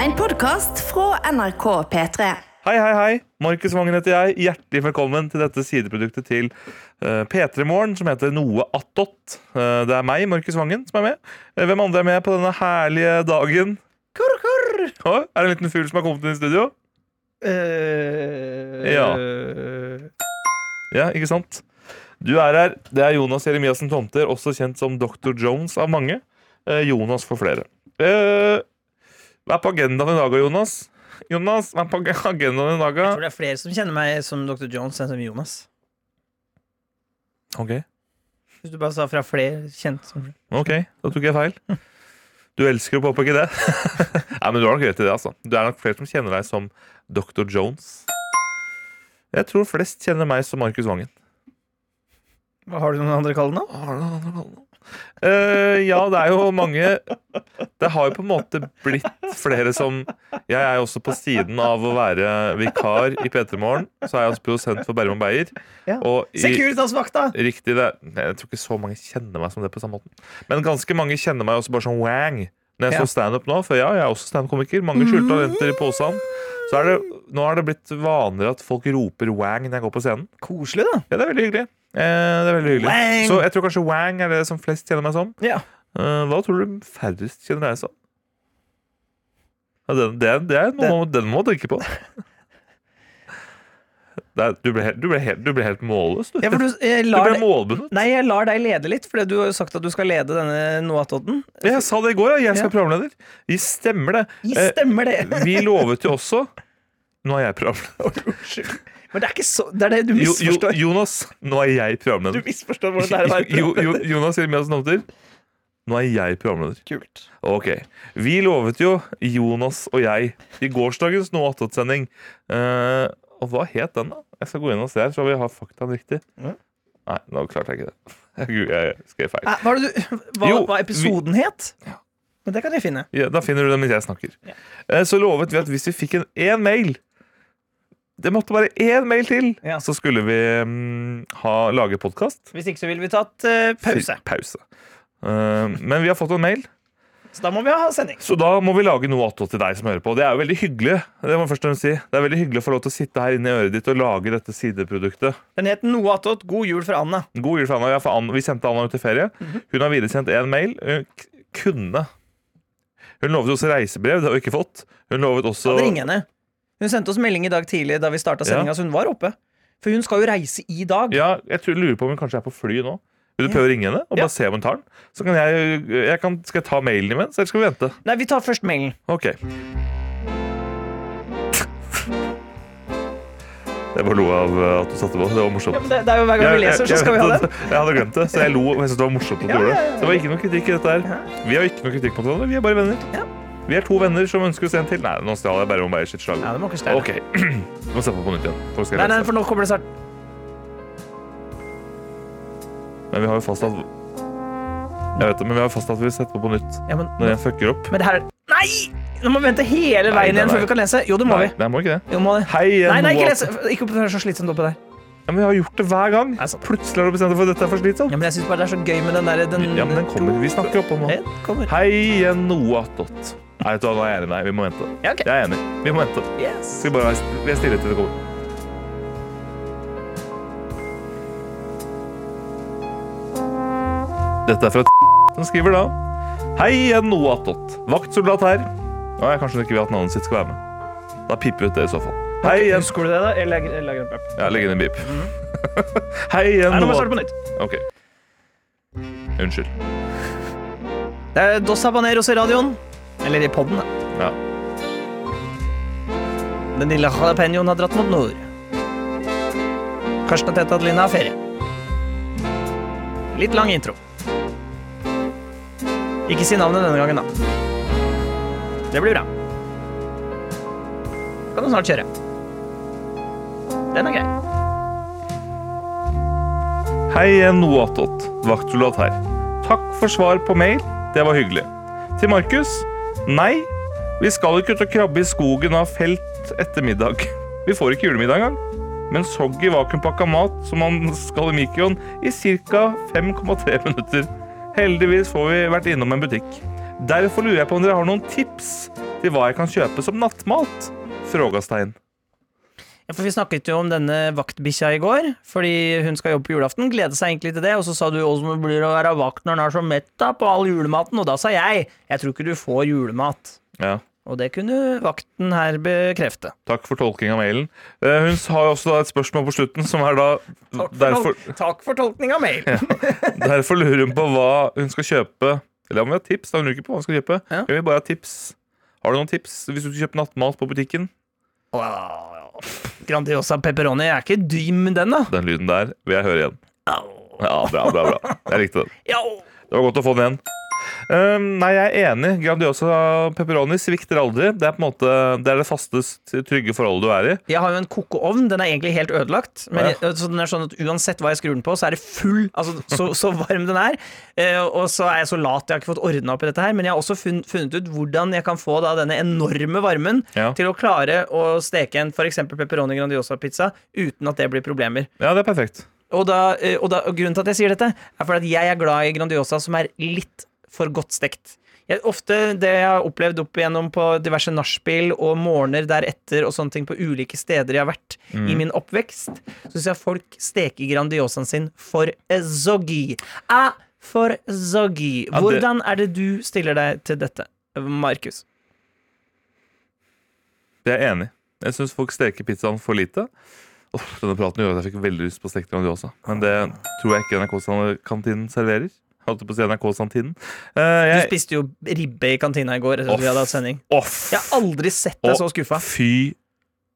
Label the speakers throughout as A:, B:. A: En podkast fra NRK P3.
B: Hei, hei, hei. Markus Vangen heter jeg. Hjertelig velkommen til dette sideproduktet til eh, P3 Morgen, som heter Noe attåt. Eh, det er meg, Markus Vangen, som er med. Eh, hvem andre er med på denne herlige dagen? Kurr, kurr. Å, er det en liten fugl som har kommet inn i studio?
C: Eh,
B: Ja. Ja, ikke sant? Du er her. Det er Jonas Jeremiassen Tomter, også kjent som Dr. Jones av mange. Eh, Jonas for flere. Eh, hva er på agendaen i dag, Jonas? Jonas, hva er på ag- agendaen i dag?
C: Jeg tror det er flere som kjenner meg som Dr. Jones enn som Jonas.
B: Ok.
C: Hvis du bare sa fra flere kjent som
B: Ok, da tok jeg feil. Du elsker å påpeke det. Nei, men du har nok rett i det, altså. Det er nok flere som kjenner deg som Dr. Jones. Jeg tror flest kjenner meg som Markus Vangen.
C: Hva Har du noen andre kallenavn?
B: Eh, ja, det er jo mange Det har jo på en måte blitt flere som Jeg er jo også på siden av å være vikar i P3 Morgen. Så er jeg også produsent for Berrum Beyer.
C: Ja.
B: Og i,
C: Securitas-vakta!
B: riktig det Nei, Jeg tror ikke så mange kjenner meg som det på samme måten. Men ganske mange kjenner meg også bare som wang. Når jeg
C: Ja. Mm.
B: så standup nå, for ja, jeg er også standup-komiker, mange skjulte talenter i posen, så er det, nå har det blitt vanligere at folk roper wang når jeg går på scenen.
C: Koselig, da.
B: Ja, det er veldig hyggelig. Eh, det er veldig hyggelig.
C: Wang!
B: Så jeg tror kanskje Wang er det som flest kjenner meg som.
C: Ja.
B: Eh, hva tror du færrest kjenner deg som? Ja, den, den, det er noe, den må du tenke på. Det er, du, ble helt, du, ble helt, du ble helt målløs, du.
C: Ja, for du, jeg
B: du
C: lar
B: ble
C: deg,
B: målbundet.
C: nei, jeg lar deg lede litt, for du har jo sagt at du skal lede denne Noatodden.
B: Jeg sa det i går, ja. Jeg skal
C: Ja.
B: programleder. Vi stemmer det. Eh,
C: Stemmer det!
B: Vi lovet jo også Nå er jeg programleder.
C: Unnskyld. Men det er ikke så Det er det du
B: Jo, jo,
C: misforstår.
B: Jonas, nå er jeg
C: Du
B: programleder.
C: misforstår hvordan det er å være
B: Jo, jo, Jonas Jeremiassen Hovter, nå er jeg programleder.
C: Kult.
B: Ok, Vi lovet jo, Jonas og jeg, i gårsdagens Noe attåt-sending eh, Og hva het den, da? Jeg skal gå inn og se her, så vi har faktaen riktig.
C: Ja.
B: Nei, nå klarte jeg ikke det. Gud, jeg skrev feil.
C: Eh, Hva, var det du, hva,
B: Jo,
C: hva episoden het? Men det kan jeg finne.
B: Ja, da finner du den mens jeg snakker. Eh, så lovet vi at hvis vi fikk en én mail Det måtte bare én mail til,
C: Ja.
B: så skulle vi mm, ha, lage podkast.
C: Hvis ikke så ville vi tatt eh, pause.
B: Pause. Eh, men vi har fått en mail.
C: Så da må vi ha sending.
B: Så da må vi lage noe attåt til deg som hører på. Det er jo veldig hyggelig det må jeg først og fremst si. Det er veldig hyggelig å få lov til å sitte her inne i øret ditt og lage dette sideproduktet.
C: Den het Noe attåt. God jul fra Anna.
B: God jul for Anna. Ja, for Anna. Vi sendte Anna ut i ferie.
C: Mhm.
B: Hun har videresendt én mail. Hun k- kunne. Hun lovet også reisebrev. Det har hun ikke fått. Hun lovet også
C: Så... Hadde ringt henne. Hun sendte oss melding i dag tidlig da vi starta
B: Ja.
C: sendinga, så hun var oppe. For hun skal jo reise i dag.
B: Ja, jeg tror, lurer på om hun kanskje er på fly nå. Vil du
C: Ja.
B: prøve å ringe henne og
C: Ja.
B: bare se om hun tar den? Så kan jeg, jeg kan, Skal jeg ta mailen imens, eller skal vi vente?
C: Nei, vi tar først mailen.
B: Ok. Det var lo av eh, at du satte på. Det var morsomt.
C: Ja, men det, det er jo hver gang vi leser, så skal vi ha den.
B: Jeg hadde glemt det, så jeg lo. og Jeg synes det var morsomt at du
C: Ja,
B: gjorde
C: ja,
B: det.
C: ja, ja.
B: Det var ikke noe kritikk i dette her. Vi har ikke noe kritikk mot hverandre. Vi er bare venner.
C: Ja.
B: Vi er to venner som ønsker oss en til. Nei, nå stjal jeg bare om Beier sitt slag.
C: Ja, det må ikke stjele.
B: Ok. Vi må sette på på nytt igjen. Folk skal
C: Nei, nei,
B: lese.
C: for nå kommer det snart.
B: Men vi har jo fastsatt Jeg vet det, men vi har jo fastsatt at vi setter på på nytt
C: Ja, men,
B: når en fucker opp.
C: men det her er Nei! Nå må vi vente hele
B: Nei,
C: veien
B: nei,
C: igjen før
B: nei.
C: vi kan lese. Jo, det må
B: Nei,
C: vi.
B: nei, må ikke det.
C: Jo, må det.
B: Hei igjen,
C: Nei, nei, ikke
B: Noah.
C: lese. Ikke oppfør deg så slitsomt oppå der.
B: Ja, men vi har gjort det hver gang.
C: Nei, sant.
B: Plutselig har du bestemt deg for at dette er for slitsomt.
C: Ja, men jeg syns bare det er så gøy med den derre den,
B: Ja, men den kommer. Vi snakker opp om den.
C: Den kommer.
B: Hei igjen, Noah Tott. Nei, vet du hva, nå er jeg enig med deg. Vi må vente.
C: Ja, ok.
B: Jeg er enig. Vi må vente.
C: Yes.
B: Skal vi bare være vi er stille til det kommer. Dette er fra som skriver da. Hei igjen, Noah Tott. Vaktsoldat her. Nå er jeg kanskje hun ikke vil at navnet sitt skal være med. Da piper ut det i så fall. Hei igjen.
C: Husker du det, da? Jeg legger, jeg legger en pep.
B: Ja, legg inn en bip. Hei igjen,
C: Mhm. Nei, nå må vi
B: Noah.
C: starte på nytt.
B: Ok. Unnskyld.
C: Det er Dos Habaneros i radioen. Eller i poden, da.
B: Ja.
C: Den lille jalapeñoen har dratt mot nord. Karsten og Tete Adeline har ferie. Litt lang intro. Ikke si navnet denne gangen, da. Det blir bra. Kan du snart kjøre. Den er grei.
B: Hei igjen, Noatot. Vaktsoldat her. Takk for svar på mail. Det var hyggelig. Til Markus nei, vi skal ikke ut og krabbe i skogen av felt etter middag. Vi får ikke julemiddag engang. Men sogg i vakuumpakka mat som man skal i mikroen i ca. 5,3 minutter. Heldigvis får vi vært innom en butikk. Derfor lurer jeg på om dere har noen tips til hva jeg kan kjøpe som nattmat? Frågastein.
C: Ja, for Vi snakket jo om denne vaktbikkja i går, fordi hun skal jobbe på julaften. Gleder seg egentlig til det, og så sa du åssen det blir å være vakt når en er så mett da, på all julematen, og da sa jeg jeg tror ikke du får julemat.
B: Ja.
C: Og det kunne vakten her bekrefte.
B: Takk for tolking av mailen. Eh, Hun har jo også da et spørsmål på slutten, som er da
C: Takk for,
B: derfor,
C: tol takk for tolkning av mail.
B: derfor lurer hun på hva hun skal kjøpe. Eller om vi har tips. da hun lurer ikke på hva hun skal kjøpe.
C: Ja.
B: Jeg vil bare ha tips. Har du noen tips hvis du skal kjøpe nattmat på butikken?
C: Wow. Grandiosa pepperoni er ikke dym, den, da.
B: Den lyden der vil jeg høre igjen. Ja, bra, bra, bra. Jeg likte den.
C: Ja.
B: Det var godt å få den igjen. Ehm, nei, jeg er enig. Grandiosa pepperoni svikter aldri. Det er på en måte Det er det fastest trygge forholdet du er i.
C: Jeg har jo en kokeovn. Den er egentlig helt ødelagt. Men jeg, så den er sånn at Uansett hva jeg skrur den på, så er det full. Altså, så, så varm den er. Eh, og så er jeg så lat, jeg har ikke fått ordna opp i dette her. Men jeg har også funnet, funnet ut hvordan jeg kan få da, denne enorme varmen
B: Ja.
C: til å klare å steke en f.eks. pepperoni grandiosa-pizza uten at det blir problemer.
B: Ja, det er perfekt.
C: Og, da, eh, og, da, og grunnen til at jeg sier dette, er fordi at jeg er glad i Grandiosa som er litt for godt stekt. Jeg, ofte det jeg har opplevd opp igjennom på diverse nachspiel og morgener deretter og sånne ting på ulike steder jeg har vært
B: Mm.
C: i min oppvekst, så syns jeg folk steker Grandiosaen sin for zoggy. Ah, for zoggy.
B: det-
C: Hvordan er det du stiller deg til dette, Markus?
B: Jeg er enig. Jeg syns folk steker pizzaen for lite. Åh, denne praten gjorde at jeg fikk veldig lyst på stekt Grandiosa. Men det tror jeg ikke NRK-kantinen serverer. Holdt på å si NRK-santinen. Eh,
C: Du
B: jeg...
C: spiste jo ribbe i kantina i går. etter at Vi hadde hatt sending.
B: Off!
C: Jeg har aldri sett deg så skuffa.
B: fy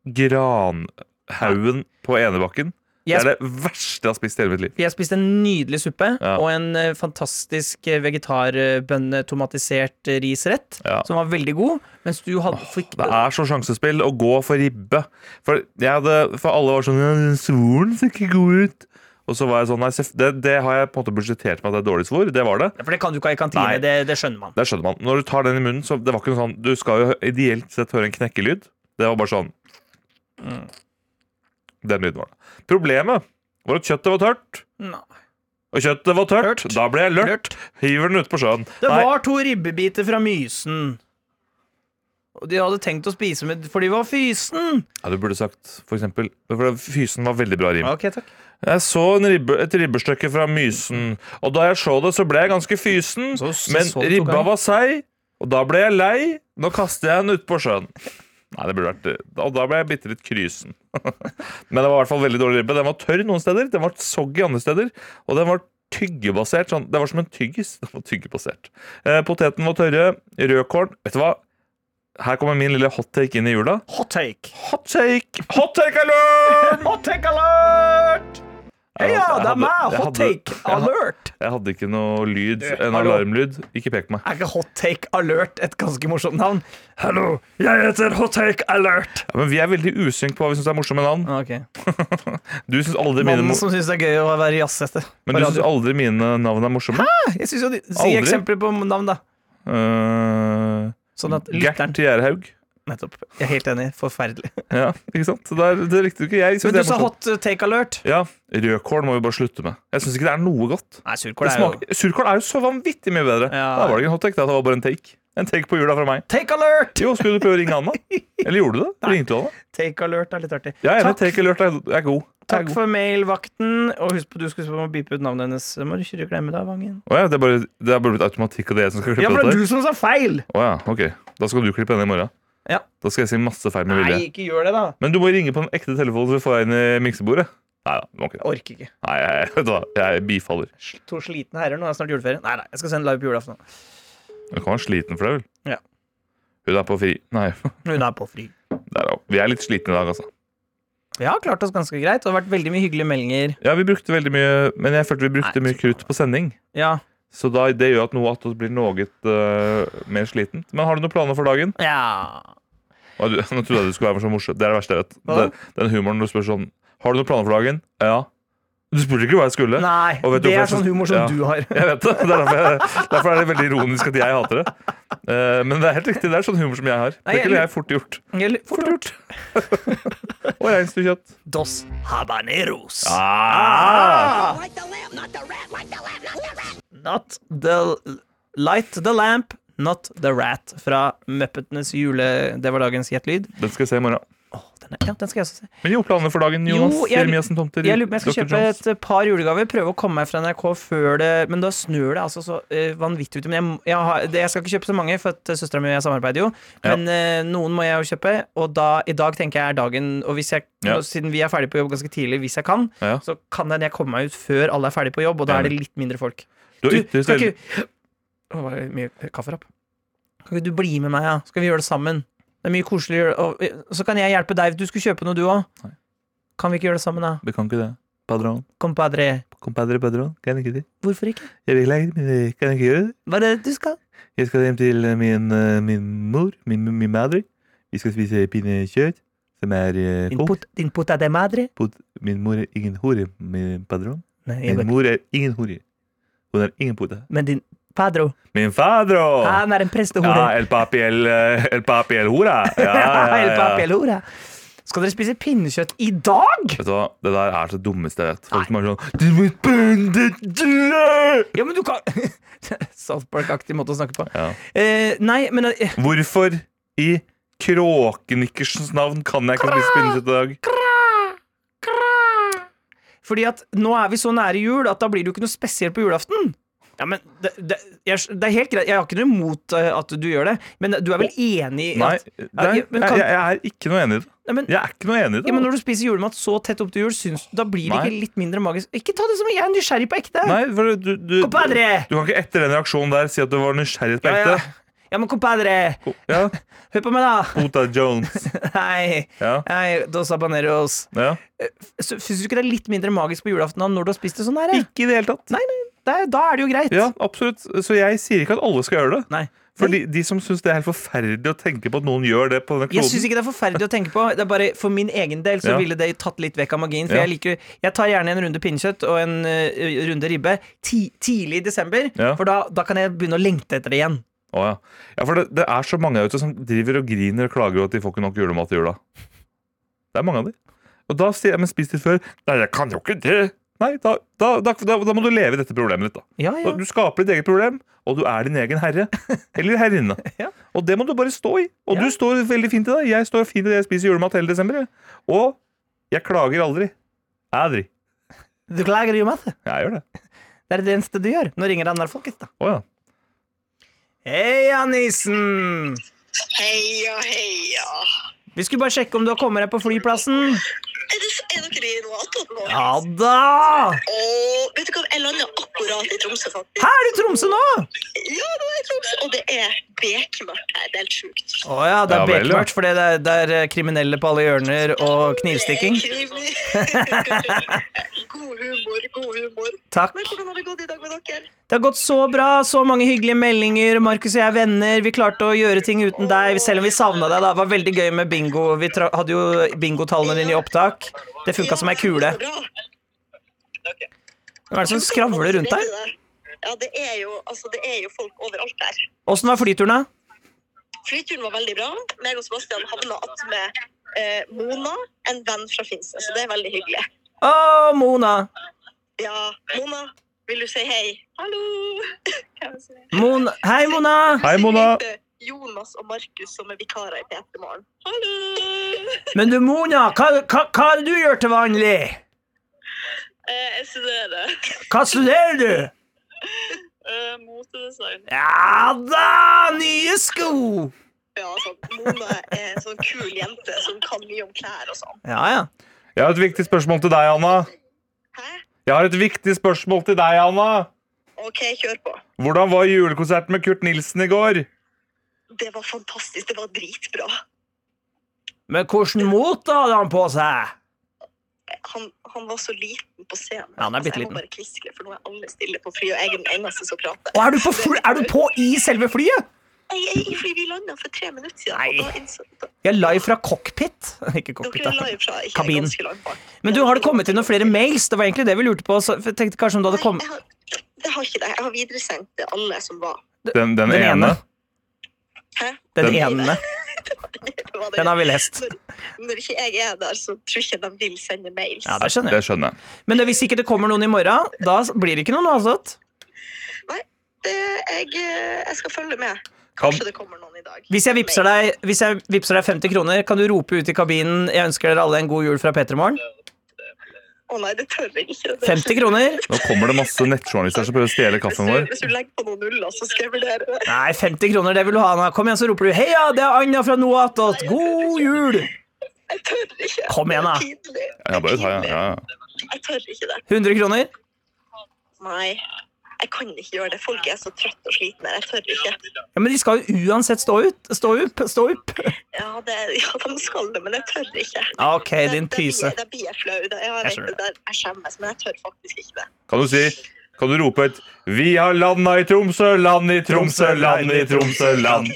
B: granhaugen på Enebakken. Det
C: Jeg
B: er det verste jeg har spist i hele mitt liv.
C: Jeg spiste en nydelig suppe
B: Ja.
C: og en eh, fantastisk eh, vegetarbønne-tomatisert eh, risrett,
B: Ja.
C: som var veldig god, mens du hadde, fikk
B: Det er så sjansespill å gå for ribbe. For, jeg hadde, for alle var sånn «Ja, den Svoren ser ikke god ut. Og så var jeg sånn Nei, seff- det, det har jeg på en måte budsjettert med at det er dårlig svor. Det var det.
C: For det kan du ikke ha i kantine,
B: Nei.
C: det, det skjønner man.
B: Det skjønner man. Når du tar den i munnen, så det var ikke noe sånn Du skal jo ideelt sett høre en knekkelyd. Det var bare sånn
C: Mm.
B: Den lyden var det. Problemet var at kjøttet var tørt.
C: Nei.
B: Og kjøttet var tørt.
C: Tørt.
B: Da ble jeg lurt.
C: Lurt.
B: Hiver den ut på sjøen.
C: Det
B: Nei,
C: var to ribbebiter fra Mysen. Og de hadde tenkt å spise med For de var fysen!
B: ja, Du burde sagt for eksempel For Fysen var veldig bra rim.
C: Ok, takk.
B: Jeg så en ribbe, et ribbestykke fra Mysen, og da jeg så det, så ble jeg ganske fysen.
C: Så- så-
B: men
C: så det to
B: ribba
C: ganger.
B: var seig, og da ble jeg lei. Nå kaster jeg den utpå sjøen. Nei, det burde vært da- Og da ble jeg bitte litt krysen. men det var i hvert fall veldig dårlig ribbe. Den var tørr noen steder, den var soggy andre steder, og den var tyggebasert. Sånn, det var som en tyggis. Den var tyggebasert. Eh, poteten var tørre. Rødkål Vet du hva? Her kommer min lille hot take inn i jula.
C: Hot take.
B: Hot take! Hot take alert!
C: Hot take alert!
B: altså, Jeg
C: Ja,
B: hadde-
C: det
B: jeg
C: er meg!
B: hadde-
C: Hot
B: jeg hadde-
C: take
B: jeg hadde-
C: alert!
B: Jeg hadde ikke noe lyd,
C: Du,
B: en
C: Eh, hallo.
B: alarmlyd. Ikke pek på meg.
C: Er ikke Hot Take Alert et ganske morsomt navn? Hallo, jeg heter Hot Take Alert.
B: Ja, men vi er veldig usynk på hva vi syns er morsomme navn. Du syns aldri, mine,
C: Mannen
B: mo-
C: som syns det er gøy å være jazzhette.
B: men du syns aldri mine navn er morsomme.
C: Jeg synes jo de, Si
B: Aldri.
C: eksempler på navn, da.
B: Uh,
C: Sånn at lytteren
B: Gert Gjerhaug.
C: Nettopp. Jeg er helt enig. Forferdelig.
B: Ja, ikke sant? Så der, det likte du ikke. Jeg synes
C: Men du
B: det er
C: sa
B: morsomt.
C: Hot eh, Take Alert.
B: Ja, Rødkål må vi bare slutte med. Jeg syns ikke det er noe godt.
C: Nei, surkål
B: Det
C: er jo
B: smaker, surkål er jo så vanvittig mye bedre.
C: Ja.
B: Da var det ikke en hot take, da. Det var bare en take. En take på jula fra meg.
C: Take Alert!
B: Jo, skulle du prøve å ringe Anna? Eller gjorde du det? Ringte du Anna?
C: Take Alert er litt artig.
B: Ja, jeg er enig.
C: takk,
B: Take alert er, er god. Er
C: takk
B: god.
C: for mailvakten. Og husk på du skulle spørre om å beepe ut navnet hennes. Må du ikke glemme det, Vangen?
B: Å ja, det er bare, det er bare blitt automatikk, og det er jeg som skal klippe
C: Ja, for
B: dette?
C: det er du som sa feil!
B: Å ja, ok. Da skal du klippe den i morgen.
C: Ja.
B: Da skal jeg si masse feil med
C: Nei,
B: vilje.
C: ikke gjør det, da.
B: Men du må ringe på en ekte telefon så vi får deg inn i miksebordet. Nei da, må ikke det.
C: Jeg orker ikke.
B: Nei, jeg, vet du hva, jeg bifaller.
C: Sl- To slitne herrer, nå er det snart juleferie. Nei, nei, jeg skal sende live på julaften.
B: Du kan være sliten for det, vel?
C: Ja.
B: Hun er på fri. Nei,
C: Hun er på fri.
B: der, er hun. vi er litt slitne i dag, altså.
C: Vi har klart oss ganske greit. Det har vært veldig mye hyggelige meldinger.
B: Ja, vi brukte veldig mye Men jeg følte vi brukte
C: Nei,
B: mye krutt på sending.
C: Ja.
B: Så da, det gjør at noe attåt blir noe øh, mer slitent. Men har du noen planer for dagen?
C: ja.
B: Å, du, nå trodde jeg du skulle være så morsom. Det er det verste jeg vet.
C: Hva da?
B: Det, den humoren når du spør sånn Har du noen planer for dagen? Ja. Du spurte ikke hva jeg skulle.
C: Nei,
B: Og vet du
C: det
B: hvorfor
C: er
B: jeg
C: sånn
B: synes-
C: humor som
B: Ja.
C: du har.
B: Jeg vet det. det er derfor, jeg, derfor er det veldig ironisk at jeg hater det. Eh, men det er helt riktig. Det er sånn humor som jeg har.
C: Nei,
B: Det
C: jeg-
B: kunne jeg fort gjort.
C: Eller fort gjort.
B: Og reinsdyrkjøtt.
C: Dos habaneros.
B: Ah!
D: Light the lamp, not the rat, light the lamp, not the rat!
C: Not the light the lamp, Not The Rat fra Muppetenes jule... Det var dagens gjettlyd.
B: Den skal jeg se i morgen.
C: Åh, den, er, ja, den skal jeg også se.
B: Men jo, planer for dagen,
C: Jo,
B: Jonas?
C: jeg-
B: Jeremiassen Tomter?
C: Jeg lurer på om jeg skal
B: Dr.
C: kjøpe
B: Jones.
C: et par julegaver. Prøve å komme meg fra NRK før det Men da snør det altså så eh, vanvittig ute. Men jeg, må- jeg, har, det, jeg skal ikke kjøpe så mange, for at søstera mi og jeg samarbeider jo.
B: Ja.
C: Men eh, noen må jeg jo kjøpe, og da, i dag tenker jeg er dagen Og hvis jeg,
B: Ja.
C: nå, siden vi er ferdig på jobb ganske tidlig, hvis jeg kan,
B: Ja.
C: så kan det hende jeg kommer meg ut før alle er ferdig på jobb, og da er det litt mindre folk.
B: Du
C: Du,
B: er ytterst
C: skal
B: eldre.
C: ikke Å, det var mye eh, kafferapp. Kan ikke du bli med meg, da? Ja? Skal vi gjøre det sammen? Det er mye koseligere. Og, eh, så kan jeg hjelpe deg. Du skulle kjøpe noe, du òg.
B: Nei.
C: Kan vi ikke gjøre det sammen, da?
B: Vi kan ikke det. Padron.
C: Compadre.
B: Compadre padron. Kan ikke det.
C: Hvorfor ikke?
B: Jeg vil ikke, men jeg kan ikke gjøre det.
C: Hva er det du skal?
B: Jeg skal hjem til min, eh, min mor, min, min madre. Vi skal spise pinnekjøtt, som er eh,
C: Din,
B: kokt.
C: put, din puta de madre?
B: Pot- Min mor er ingen hore, min padron.
C: Nei,
B: Min
C: jeg vet ikke.
B: mor er ingen hore. Hun er ingen puta.
C: Men din padro?
B: Min fadro!
C: Han er en prestehore.
B: Ja, el papi, el, eh, el papi, el hora. Ja, ja, ja,
C: El
B: ja.
C: papelora. Skal dere spise pinnekjøtt i dag?
B: Vet du hva, det der er så dummeste jeg vet. Folk som er sånn Du må bønde dø!
C: Ja, men du kan South Park-aktig måte å snakke på.
B: Ja.
C: Eh, nei, men eh,
B: Hvorfor i kråkenikkersens navn kan jeg ikke spise pinnekjøtt i dag?
C: Fordi at nå er vi så nære jul at da blir det jo ikke noe spesielt på julaften. Ja, men det, det, jeg, det er helt greit. Jeg har ikke noe imot eh, at du gjør det, men du er vel enig i
B: Nei,
C: at
B: det
C: Ja,
B: er,
C: ja,
B: jeg,
C: men kan-
B: jeg er ikke noe enig i det.
C: Nei, men,
B: Jeg er ikke noe enig i
C: ja,
B: det.
C: men når du spiser julemat så tett opp til jul, syns, da blir det
B: Nei.
C: ikke litt mindre magisk? Ikke ta det som jeg er nysgjerrig på ekte!
B: Nei, for du, du, du kan
C: Compadre!
B: ikke etter den reaksjonen der si at du var nysgjerrig på
C: Ja,
B: ekte.
C: ja. ja, men compadre,
B: Ja,
C: hør på meg, da!
B: Puta Jones.
C: Hei,
B: Ja,
C: hei, dos habaneros.
B: ja.
C: Så Syns du ikke det er litt mindre magisk på julaften da, når du har spist det sånn her? eh?
B: Ikke i det hele tatt.
C: Nei, nei, det, er- da er det jo greit.
B: Ja, absolutt. Så jeg sier ikke at alle skal gjøre det.
C: Nei.
B: For de, de som syns det er helt forferdelig å tenke på at noen gjør det på denne
C: Jeg syns
B: kloden
C: ikke det er forferdelig å tenke på. Det er bare For min egen del så
B: Ja.
C: ville det tatt litt vekk av magien. For
B: Ja.
C: jeg liker Jeg tar gjerne en runde pinnekjøtt og en eh, runde ribbe ti, tidlig i desember.
B: Ja.
C: For da, da kan jeg begynne å lengte etter det igjen.
B: Å, ja. ja, for det, det er så mange der ute som driver og griner og klager over at de får ikke nok julemat i jula. Det er mange av de. Og da sier jeg, men spis litt før. Nei, jeg kan jo ikke det. Nei, da, da, da, da, da må du leve i dette problemet ditt, da.
C: Ja, ja.
B: Og Du skaper ditt eget problem, og du er din egen herre. Eller herrinne.
C: Ja.
B: Og det må du bare stå i. Og
C: Ja.
B: du står veldig fint i det. Jeg står fint i det jeg spiser julemat hele desember. jeg. Og jeg klager aldri. Aldri.
C: Du klager jo masse.
B: Jeg gjør det.
C: Det er det eneste du gjør. Nå ringer andre folket, da.
B: Å ja.
C: Heia, nissen!
D: Heia, heia.
C: Vi skulle bare sjekke om du har kommet deg på flyplassen.
D: Er, det, er dere i Noatot nå?
C: Ja da!
D: Og vet du hva, jeg landa akkurat i Tromsø, faktisk.
C: Her er du i Tromsø nå!
D: Ja, nå er jeg i Tromsø. Og det er bekmørkt her. Det er helt sjukt.
C: Å ja, det
B: Ja
C: er
B: vel, ja.
C: bekmørkt, for det er, det er eh, kriminelle på alle hjørner og knivstikking.
D: Det er krimi. god humor, god humor.
C: Takk.
D: Men hvordan har det gått i dag med dere?
C: Det har gått så bra, så mange hyggelige meldinger. Markus og jeg er venner. Vi klarte å gjøre ting uten deg, selv om vi savna deg. da Det var veldig gøy med bingo. Vi tra hadde jo bingotallene dine i opptak. Det funka som ei kule.
D: Ja, det går bra.
C: Hva er det som skravler rundt deg?
D: Ja, det er jo, altså, det er jo folk overalt her.
C: Åssen var flyturen, da?
D: Flyturen var veldig bra. Meg og Sebastian havna attmed eh, Mona, en venn fra Finse, så det er veldig hyggelig.
C: Å, Mona.
D: Ja, Mona, vil du si hei? Hallo! Hvem sier det?
C: Mon Hei, Mona.
B: Hei, Mona.
D: Det heter Jonas og Markus som er vikarer i P3 Morgen. Hallo!
C: Men du, Mona, hva, hva, hva er det du gjør til vanlig?
D: Eh, jeg studerer
C: Hva studerer du?
D: eh, motedesign.
C: Ja da, nye sko!
D: Ja, sånn. Mona er en sånn kul jente som kan mye om klær og sånn.
C: Ja, ja.
B: Jeg har et viktig spørsmål til deg, Anna.
D: Hæ?
B: Jeg har et viktig spørsmål til deg, Anna.
D: OK, kjør på.
B: Hvordan var julekonserten med Kurt Nilsen i går?
D: Det var fantastisk. Det var dritbra.
C: Men hvordan mot hadde han på seg?
D: Han, han var så liten på scenen. Altså,
C: Ja, han er
D: jeg
C: bitteliten.
D: må bare kviskre, for nå er alle stille på flyet, og jeg er den eneste som prater.
C: Og er du på, fly er du på i selve flyet?
D: Nei, jeg- fordi vi landa for tre minutter siden.
C: Nei.
D: Og da innså, da,
C: Vi er live fra cockpit. Ikke cockpit,
D: Dere er live fra ikke
C: Kabin.
D: ganske langt bak.
C: Men du, har det kommet inn noen flere mails? Det var egentlig det vi lurte på. Så jeg tenkte kanskje om du hadde
D: Nei,
C: kommet
D: jeg har, det har ikke det. Jeg har videresendt til alle som var.
B: Den, den,
C: Den
B: ene.
C: ene.
D: Hæ?
C: Den
B: Den-
C: ene.
D: Det var det.
C: Den har vi lest.
D: Når, når ikke jeg er der, så tror jeg ikke de vil sende mails.
C: Ja, det skjønner
B: Det
C: jeg.
B: skjønner jeg.
C: Men hvis ikke det kommer noen i morgen, da blir det ikke noen avsatt.
D: Det- jeg, eh, jeg skal følge med.
B: Kan,
D: Kanskje det kommer noen i dag.
C: Hvis jeg vippser deg, hvis jeg vippser deg 50 kroner, kan du rope ut i kabinen 'Jeg ønsker dere alle en god jul fra Petermorgen'?
D: Å nei, det tør jeg ikke. Det-
C: 50 kroner?
B: nå kommer det masse nettjournalister som prøver å stjele
D: Hvis
B: kaffen
D: du,
B: vår.
D: hvis du legger på noen nuller, så skal jeg vurdere det.
C: Nei, 50 kroner, det vil du ha. Anna. Kom igjen, så roper du 'Heia, det er Anja fra Noatot! God jul!'
D: Jeg tør ikke.
C: Kom igjen, da.
D: Det er pinlig.
B: Ja, bare ta, ja. ja, ja.
D: Jeg tør ikke det.
C: 100 kroner?
D: Nei, jeg kan ikke gjøre det. Folk er så trøtte og slitne. Jeg tør ikke.
C: Ja, Men de skal jo uansett stå ut. Stå opp. Stå opp.
D: Ja, det, ja de skal det, men jeg tør ikke.
C: Ja, OK,
D: Det-
C: din
D: det
C: pyse.
D: blir- Det blir jeg flau. Det, ja, jeg,
C: Jeg
D: vet
C: skjønner
D: det. der- jeg skjemmes, men jeg tør faktisk ikke det.
B: Kan du si Kan du rope et 'Vi har landa i Tromsø, land i Tromsø, land i Tromsø, land'?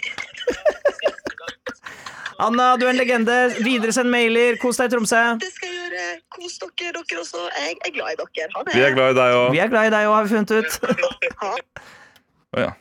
C: Anna, du er en legende. Videresend mailer. Kos deg i Tromsø.
D: Det skal jeg gjøre. Kos dere, dere også. Jeg er glad i dere. Ha det.
B: Vi er glad i deg òg.
C: Vi er glad i deg òg, har vi funnet ut.
D: Ha.
B: Å ja.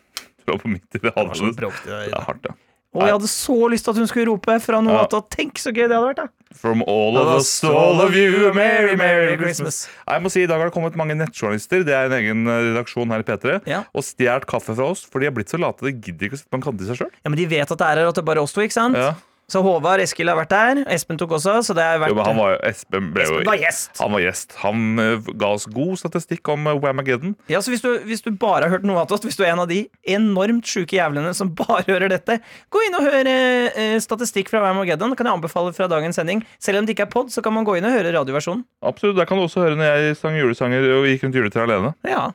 B: Du var på midt i det halve. Det er hardt, ja.
C: Og jeg hadde så lyst til at hun skulle rope fra Noatot. Tenk så gøy det hadde vært, da.
B: From all of us to all of you, a merry, merry Christmas. Jeg må si, I dag har det kommet mange nettjournalister det er en egen eh, redaksjon her i P3,
C: Ja.
B: og stjålet kaffe fra oss, for de har blitt så late de gidder ikke å sitte på en kante i seg sjøl.
C: Ja, Men de vet at det er her, at det bare er oss to, ikke sant?
B: Ja.
C: Så Håvard Eskil har vært der. Espen tok også, så det har vært
B: Jo, men han var jo Espen ble jo
C: Espen var gjest.
B: Han var gjest. Han eh, ga oss god statistikk om eh, Whamageddon.
C: Ja, så hvis du, hvis du bare har hørt noe av oss, hvis du er en av de enormt sjuke jævlene som bare hører dette, gå inn og hør eh, statistikk fra Wamageddon. Kan jeg anbefale fra dagens sending. Selv om det ikke er pod, så kan man gå inn og høre radioversjonen.
B: Absolutt, Der kan du også høre når jeg sang julesanger og gikk rundt juletreet alene.
C: Ja.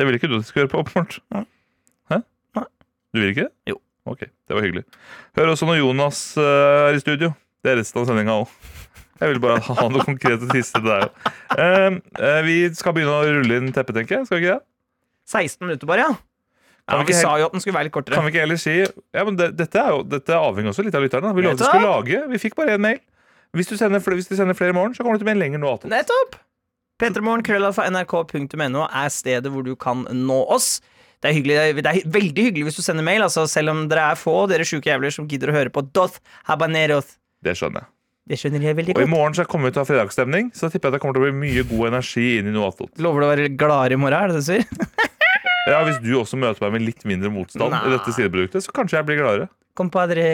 B: Det vil ikke du at jeg skal høre på, åpenbart.
C: Nei.
B: Hæ?
C: Nei.
B: Du vil ikke det?
C: Jo.
B: Ok, det var hyggelig. Hør også når Jonas eh, er i studio. Det er resten av sendinga òg. Jeg vil bare ha noe konkret å tisse til deg òg. vi skal begynne å rulle inn teppet, tenker jeg. Skal vi ikke det?
C: 16 minutter bare, ja.
B: Kan
C: ja
B: vi
C: vi
B: ikke
C: sa jo at den skulle være litt kortere.
B: Kan vi ikke heller si ja, men det, dette, er jo, dette avhenger også litt av lytterne. da. Vi lovte vi
C: Nettopp.
B: skulle lage. Vi fikk bare én mail. Hvis du sender, fl- hvis du sender flere i morgen, så kommer du til å bli en lenger nå. Atle.
C: Nettopp! Petremorgen, krøllalfa, nrk.no er stedet hvor du kan nå oss. Det er, hyggelig, det er veldig hyggelig hvis du sender mail, altså, selv om dere er få, dere sjuke jævler som gidder å høre på Doth Habaneroth.
B: Det skjønner jeg.
C: Det skjønner jeg veldig
B: Og i
C: godt.
B: morgen så kommer vi til å ha fredagsstemning, så da tipper jeg at det kommer til å bli mye god energi inn i noe attåt.
C: Lover du å være gladere i morgen, er det det du sier?
B: Ja, Hvis du også møter meg med litt mindre motstand i
C: Nei.
B: dette sideproduktet, så kanskje jeg blir gladere.
C: Compadre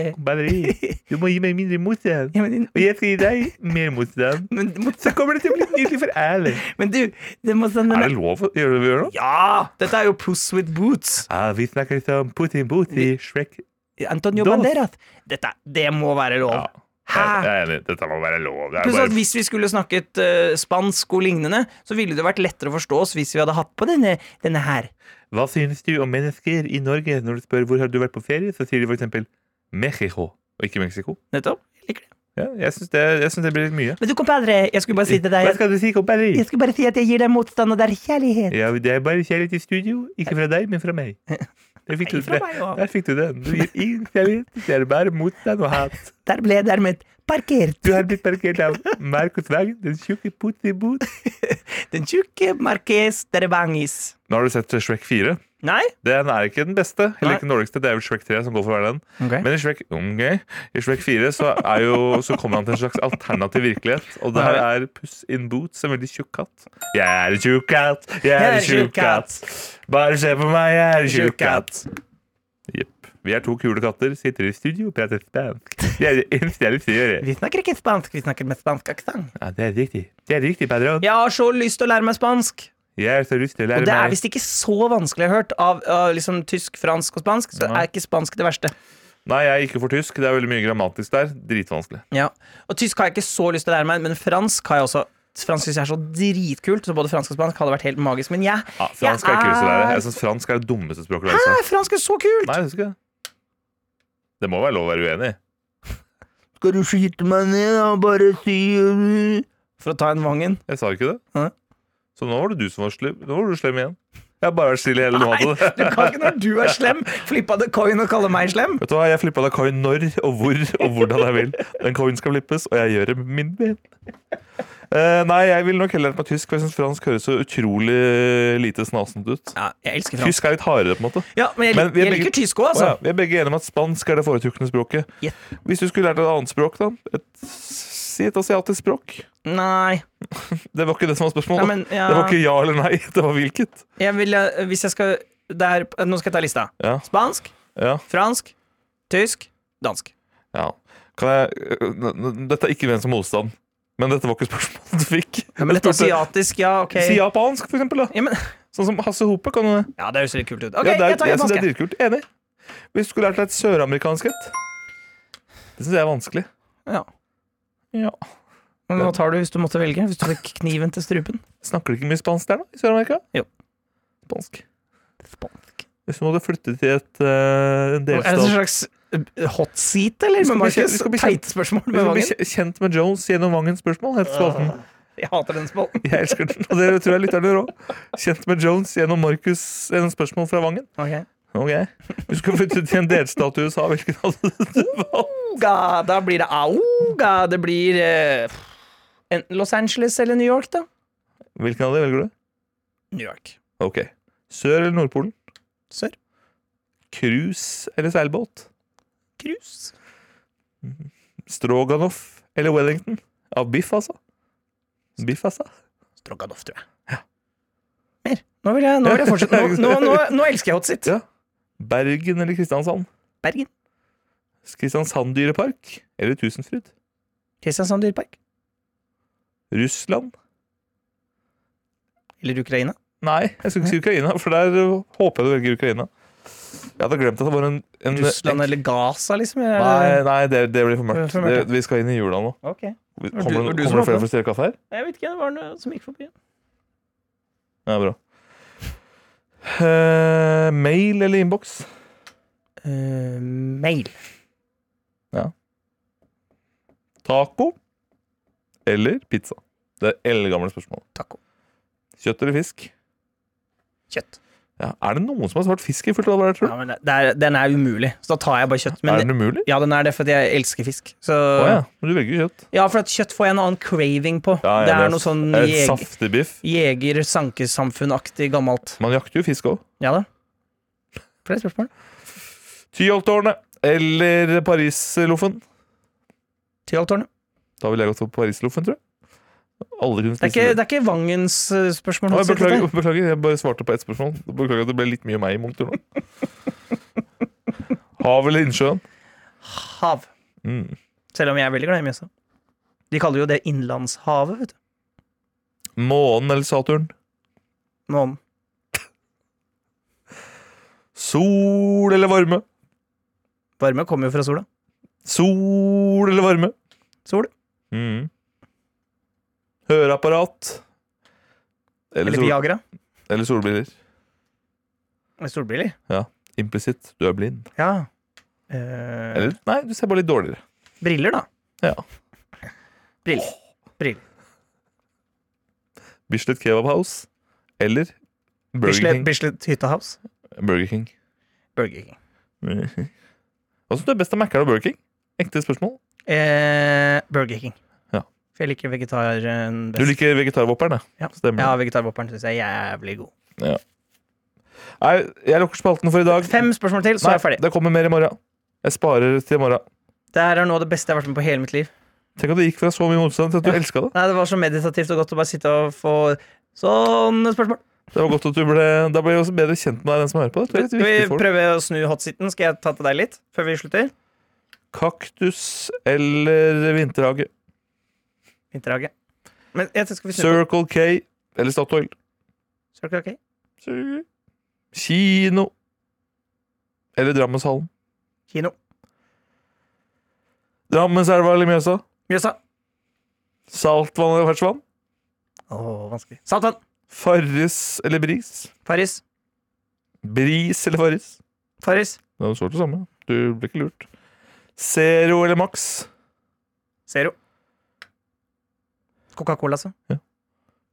B: Du må gi meg mindre motstand.
C: ja, men,
B: Og jeg skal gi deg mer motstand.
C: men,
B: Så kommer det til å bli nydelig for alle.
C: men du, det må sende
B: Er det lov å gjøre det vi gjør nå?
C: Ja! Dette er jo Puss with Boots.
B: Ja, vi snakker litt om Putin, Putin, Shrek
C: Antonio
B: Doth.
C: Banderas. Dette, det må være lov.
B: Ja.
C: Hæ?
B: Jeg er enig. Dette må være lov. Det er
C: Pluss at
B: bare...
C: Hvis vi skulle snakket eh, spansk og lignende, så ville det vært lettere å forstå oss hvis vi hadde hatt på denne, denne her.
B: Hva synes du om mennesker i Norge når du spør hvor har du vært på ferie? Så sier de for eksempel Mexico, og ikke Mexico.
C: Nettopp. Jeg liker det.
B: Ja, jeg syns det, jeg synes det blir litt mye.
C: Men du, kompadre, jeg skulle bare si til deg
B: Hva skal du si, kompani?
C: Jeg skulle bare si at jeg gir deg motstand, og det er kjærlighet.
B: Ja, det er bare kjærlighet i studio. Ikke fra deg, men fra meg. Der fikk,
C: Nei,
B: du,
C: fra
B: der,
C: meg også.
B: der fikk du den. Du gir ingen kjærlighet. Det er bare motstand og hat.
C: Der ble jeg dermed parkert.
B: Du har blitt parkert av Markus Wagn, den tjukke putten i bot.
C: Den tjukke Marques Derevangis.
B: Nå har du sett Shrek 4.
C: Nei?
B: Den er ikke den beste,
C: Nei.
B: heller ikke den dårligste. Det er vel Shrek 3 som går for å være den.
C: Ok.
B: Men i Shrek, ok, i Shrek 4 så, er jo, så kommer han til en slags alternativ virkelighet. Og der er Puss in Boots en veldig tjukk katt. Jeg er en tjukk katt, jeg er en tjukk katt. Bare se på meg, jeg er en tjukk katt. Jepp. Vi er to kule katter, sitter i studio og prater spansk. Det er det eneste jeg vil gjøre.
C: Vi snakker ikke spansk, vi snakker med spansk aksent.
B: Ja, det er riktig. Det er riktig, padron.
C: Jeg har så lyst til å lære meg spansk.
B: Jeg er så lyst til å
C: Og
B: lære
C: det er
B: meg
C: visst ikke så vanskelig, jeg har hørt, av, av liksom tysk, fransk og spansk. Så
B: Nei.
C: er ikke spansk det verste.
B: Nei, jeg er ikke for tysk. Det er veldig mye grammatisk der. Dritvanskelig.
C: Ja. Og tysk har jeg ikke så lyst til å lære meg, men fransk har jeg også. Fransk synes jeg er så dritkult, så både fransk og spansk hadde vært helt magisk. Men jeg,
B: Ja, fransk er ikke lyst til å lære. Jeg synes fransk er det dummeste språket å
C: ah. Hæ,
B: lære seg.
C: fransk er så kult!
B: Nei, jeg synes ikke det. Det må være lov å være uenig.
C: Skal du skyte meg ned og bare si
B: øh.
C: For å ta en Vangen.
B: Jeg sa ikke det.
C: Hæ?
B: Så nå var det du som var slem. Nå var du slem igjen. Jeg har bare vært stille hele natta.
C: Du kan ikke når du er slem, flippe av the coin og kalle meg slem.
B: Vet du hva, jeg flippa deg coin når og hvor og hvordan jeg vil. Den coin skal flippes, og jeg gjør det med min ben. Eh, nei, jeg vil nok heller lært meg tysk, for jeg syns fransk høres så utrolig lite snasent ut.
C: Ja, jeg elsker fransk.
B: Tysk er litt hardere, på en måte.
C: Ja, men jeg,
B: Men vi er
C: jeg
B: begge-
C: liker tysk òg,
B: Å
C: altså.
B: ja, vi er begge enige om at spansk er det foretrukne språket.
C: Ja.
B: Hvis du skulle lært deg et annet språk, da? Et, si et asiatisk språk.
C: altså. Nei.
B: Det var ikke det som var spørsmålet.
C: Nei, men ja,
B: Det var ikke ja eller nei, det var hvilket.
C: jeg vil, eh, Hvis jeg skal der, Nå skal jeg ta lista.
B: Ja.
C: Spansk,
B: Ja.
C: Fransk, tysk, dansk.
B: ja. Kan jeg øh, n- n- Dette er ikke Venstre motstand, men dette var ikke spørsmålet du fikk.
C: Ja, men litt
B: Jeg spurte-
C: asiatisk, ja, ok.
B: Si japansk, for eksempel. Da.
C: Ja, men,
B: Sånn som Hasse Hope. Kan du
C: ja, det høres litt kult ut. Ok,
B: ja, det er,
C: jeg tar
B: jeg synes det er
C: japansk. jeg.
B: dritkult. Enig. Hvis du skulle lært deg et søramerikansk et Det syns jeg er vanskelig.
C: Ja.
B: Ja.
C: Men Hva tar du hvis du måtte velge? Hvis du fikk kniven til strupen?
B: Snakker du ikke mye spansk der, da? I Sør-Amerika?
C: Jo.
B: Spansk.
C: Spansk.
B: Hvis du måtte flytte til et, eh, en
C: Er det
B: delstat
C: en slags eh, hot seat, eller?
B: Vi skal
C: Med
B: bli kjent- vi
C: Markus?
B: skal bli kjent.
C: Teit spørsmål
B: Vi
C: med
B: skal bli
C: Vangen. Ah.
B: kje- kjent med Jones gjennom Vangens spørsmål, heter spalten.
C: Jeg hater den spalten.
B: Jeg elsker den, og det tror jeg lytterne gjør òg. Kjent med Jones gjennom Markus gjennom spørsmål fra Vangen.
C: Ok.
B: Ok. Du skal flytte til en delstat i USA, hvilken hadde du valgt?
C: Auga, da blir det auga. Det blir eh, enten Los Angeles eller New York, da.
B: Hvilken av de velger du?
C: New York.
B: Ok. Sør- eller Nordpolen?
C: Sør.
B: Cruise eller seilbåt?
C: Cruise.
B: Stroganoff eller Wellington? Av biff, altså. Biff, altså.
C: Stroganoff, tror jeg. Mer. Nå vil jeg, nå vil jeg fortsette. Nå, nå, nå, nå elsker jeg hot sit.
B: Ja. Bergen eller Kristiansand?
C: Bergen.
B: Kristiansand dyrepark eller Tusenfryd?
C: Kristiansand dyrepark.
B: Russland?
C: Eller Ukraina.
B: Nei, jeg skulle ikke si Ukraina, for der øh, håper jeg du velger Ukraina. Jeg hadde glemt at det var en, en
C: Russland eller Gaza, liksom. Er
B: Nei,
C: det-
B: nei det, det blir for
C: Det blir
B: mørkt.
C: for mørkt,
B: Det, vi skal inn i jula nå.
C: Ok.
B: Kommer,
C: du- var
B: kommer
C: det du
B: det
C: som
B: flere
C: åpnet?
B: for å stjele kaffe her?
C: Jeg vet ikke, det var noe som gikk forbi.
B: Ja, bra. Eh, mail eller innboks?
C: Eh, mail.
B: Taco eller pizza? Det er eldgamle spørsmål.
C: Taco.
B: Kjøtt eller fisk?
C: Kjøtt.
B: Ja, er det noen som har svart fisk i fullt alvor? her, tror du?
C: Ja, men det, det er, den er umulig, så da tar jeg bare kjøtt.
B: er
C: Men Øh,
B: den umulig?
C: ja, den er det, for jeg elsker fisk. Så
B: Å ja, men du velger jo kjøtt.
C: Ja, for at kjøtt får jeg en annen craving på.
B: Ja, ja,
C: det er noe sånn
B: det er
C: jeg,
B: Saftig biff.
C: jeger-sankesamfunn-aktig gammelt.
B: Man jakter jo fisk òg.
C: Ja da. Flere spørsmål?
B: Tyholttårnet eller Parisloffen?
C: Tyholttårnet.
B: Da ville jeg gått for Parisloffen, tror jeg. Alle kunne
C: Det, er
B: spise
C: ikke- det er ikke Vangens eh, spørsmål.
B: Å,
C: Hans,
B: jeg beklager,
C: dette.
B: beklager, jeg bare svarte på ett spørsmål. Beklager at det ble litt mye meg i monitoren. Hav eller innsjøen?
C: Hav.
B: Mm.
C: Selv om jeg er veldig glad i Mjøsa. De kaller jo det Innlandshavet, vet du.
B: Månen eller Saturn?
C: Månen.
B: Sol eller varme?
C: Varme kommer jo fra sola.
B: Sol eller varme?
C: Sol.
B: Mm. Høreapparat. Eller,
C: Eller
B: sol,
C: Viagra.
B: eller solbriller.
C: Eller Solbriller.
B: Implisitt. Du er blind.
C: Ja. Eh,
B: Eller nei, du ser bare litt dårligere.
C: briller, da.
B: Ja.
C: Briller.
B: Bislett Kebab House eller Burger
C: Bislett,
B: King.
C: Bislett Hytta House.
B: Burger King.
C: Burger King.
B: Hva syns du er best av Mækkern og Burger King? Ekte spørsmål.
C: Eh, Burger King.
B: Ja.
C: For jeg liker vegetaren best.
B: Du liker vegetarvopperen,
C: Ja.
B: Stemmer.
C: Ja, vegetarvopperen syns jeg er jævlig god.
B: Nei, jeg lukker spalten for i dag.
C: Fem spørsmål til, så er jeg ferdig.
B: Nei, det kommer mer i morgen. Jeg sparer til i morgen.
C: Det her er noe av det beste jeg har vært med på hele mitt liv.
B: Tenk at det gikk fra så mye motstand til at du elsket det.
C: Nei, Det var så meditativt og godt å bare sitte og få sånne spørsmål.
B: Det var godt at du ble Da ble jeg også bedre kjent med deg, den som hører på. Det tror jeg er
C: Skal
B: litt
C: vi
B: viktig for.
C: prøve å snu hotsiten? Skal jeg ta til deg litt før vi slutter?
B: Kaktus eller vinterhage?
C: Vinterhage. Men jeg tror skal vi snu på
B: Circle K eller Statoil?
C: Circle K?
B: Kino eller Drammenshallen?
C: Kino.
B: Drammenselva eller Mjøsa?
C: Mjøsa.
B: Saltvann eller ferskvann?
C: Å, vanskelig. Saltvann.
B: Farris eller Bris?
C: Farris.
B: Bris eller Farris?
C: Farris.
B: Det er jo svart det samme. Du ble ikke lurt. Zero eller Max?
C: Zero. Coca-Cola, altså.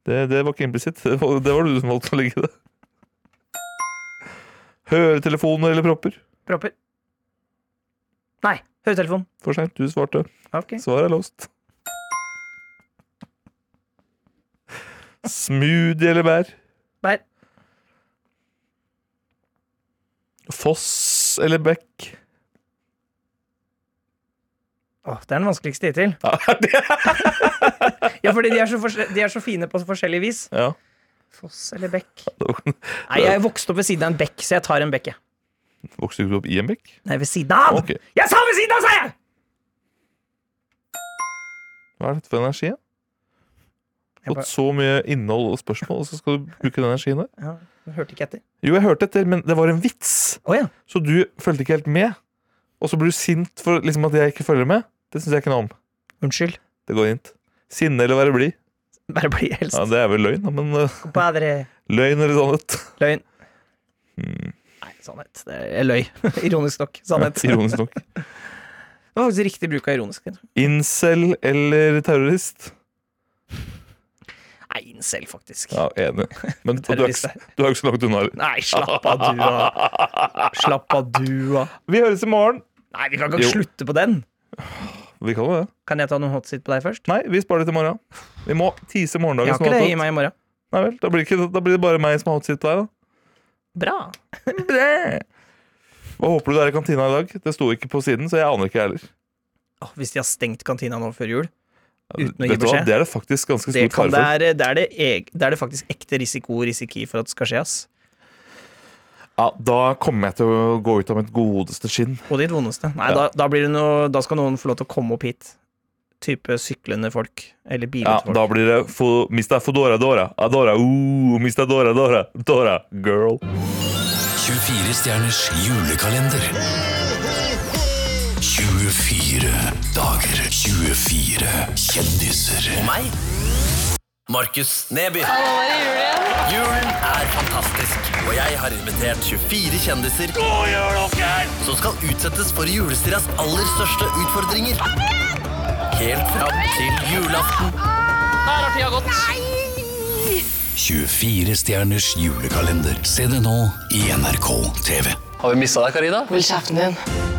B: Det, det var ikke implisitt. Det var det var du som valgte å legge det. Høretelefoner eller propper?
C: Propper. Nei. Høretelefon.
B: For seint, du svarte.
C: Ok.
B: Svaret er låst. Smoothie eller bær?
C: Bær.
B: Foss eller bekk?
C: Å, det er den vanskeligste hittil.
B: Ja, det
C: Ja, fordi de er, så forskjell- de er så fine på så forskjellig vis.
B: ja.
C: Foss eller bekk? Nei, jeg vokste opp ved siden av en bekk, så jeg tar en bekk, jeg.
B: Vokste du ikke opp i en bekk?
C: Nei, ved siden av!
B: Ok.
C: Jeg sa ved siden av, sa jeg!
B: Hva er dette for energi? da?
C: Jeg
B: Fått
C: bare-
B: så mye innhold og spørsmål, og så skal du bruke den energien der?
C: Ja, jeg hørte ikke etter.
B: Jo, jeg hørte etter, men det var en vits,
C: Å ja.
B: så du fulgte ikke helt med. Og så blir du sint for liksom, at jeg ikke følger med. Det syns jeg ikke noe om.
C: Unnskyld.
B: Det går fint. Sinne eller være blid?
C: Bare bli helst.
B: Ja, det er vel løgn, da, men eh,
C: Compadre.
B: løgn eller sannhet?
C: Løgn.
B: Mm,
C: Nei, sannhet. Det er jeg løy. Ironisk nok. Sannhet. Det
B: ironisk nok.
C: var faktisk riktig bruk av ironisk.
B: Incel eller terrorist?
C: Nei, incel, faktisk.
B: Ja, enig. Men du er
C: Terrorist,
B: ikke, du er ikke så langt unna. eller?
C: Nei, slapp av, du, da. Slapp av, du, da.
B: Vi høres i morgen.
C: Nei, vi kan ikke
B: Jo.
C: slutte på den.
B: Vi kan jo det.
C: Kan jeg ta noen hot seat på deg først?
B: Nei, vi sparer det til morgen. Vi må tease
C: Jeg
B: morgendagen.
C: har ikke det. Gi meg i morgen.
B: Nei vel, da blir, det ikke, da blir det bare meg som har hot seat der, da.
C: Bra.
B: Hva håper du det er i kantina i dag? Det sto ikke på siden, så jeg aner ikke jeg heller.
C: Åh, hvis de har stengt kantina nå før jul Uten å gi
B: Vet du hva,
C: beskjed.
B: Det er det faktisk ganske
C: det,
B: stor
C: kan,
B: fare
C: det,
B: for.
C: er, det, er det, eg, det er det faktisk ekte risiko og risiki for at det skal skje, ass.
B: Ja, da kommer jeg til å gå ut av mitt godeste skinn.
C: Og ditt vondeste. Nei,
B: Ja.
C: da, da, blir det noe, da skal noen få lov til å komme opp hit. Type syklende folk. Eller
B: Ja,
C: bilete folk.
B: Da blir det fo, Mista Fodora Dora. Adora, uh, Mista Dora Dora. Dora, girl.
E: 24 stjerners julekalender. 24 dager, 24 kjendiser. Og meg, Markus Neby. Hallo, det er jul igjen. Julen er fantastisk, og jeg har invitert 24 kjendiser som skal utsettes for julestiras aller største utfordringer. Helt fram til julaften.
F: Nei!
E: 24 stjerners julekalender. Se det nå i NRK TV.
G: Har vi mista deg, Karina?
H: Hold kjeften din.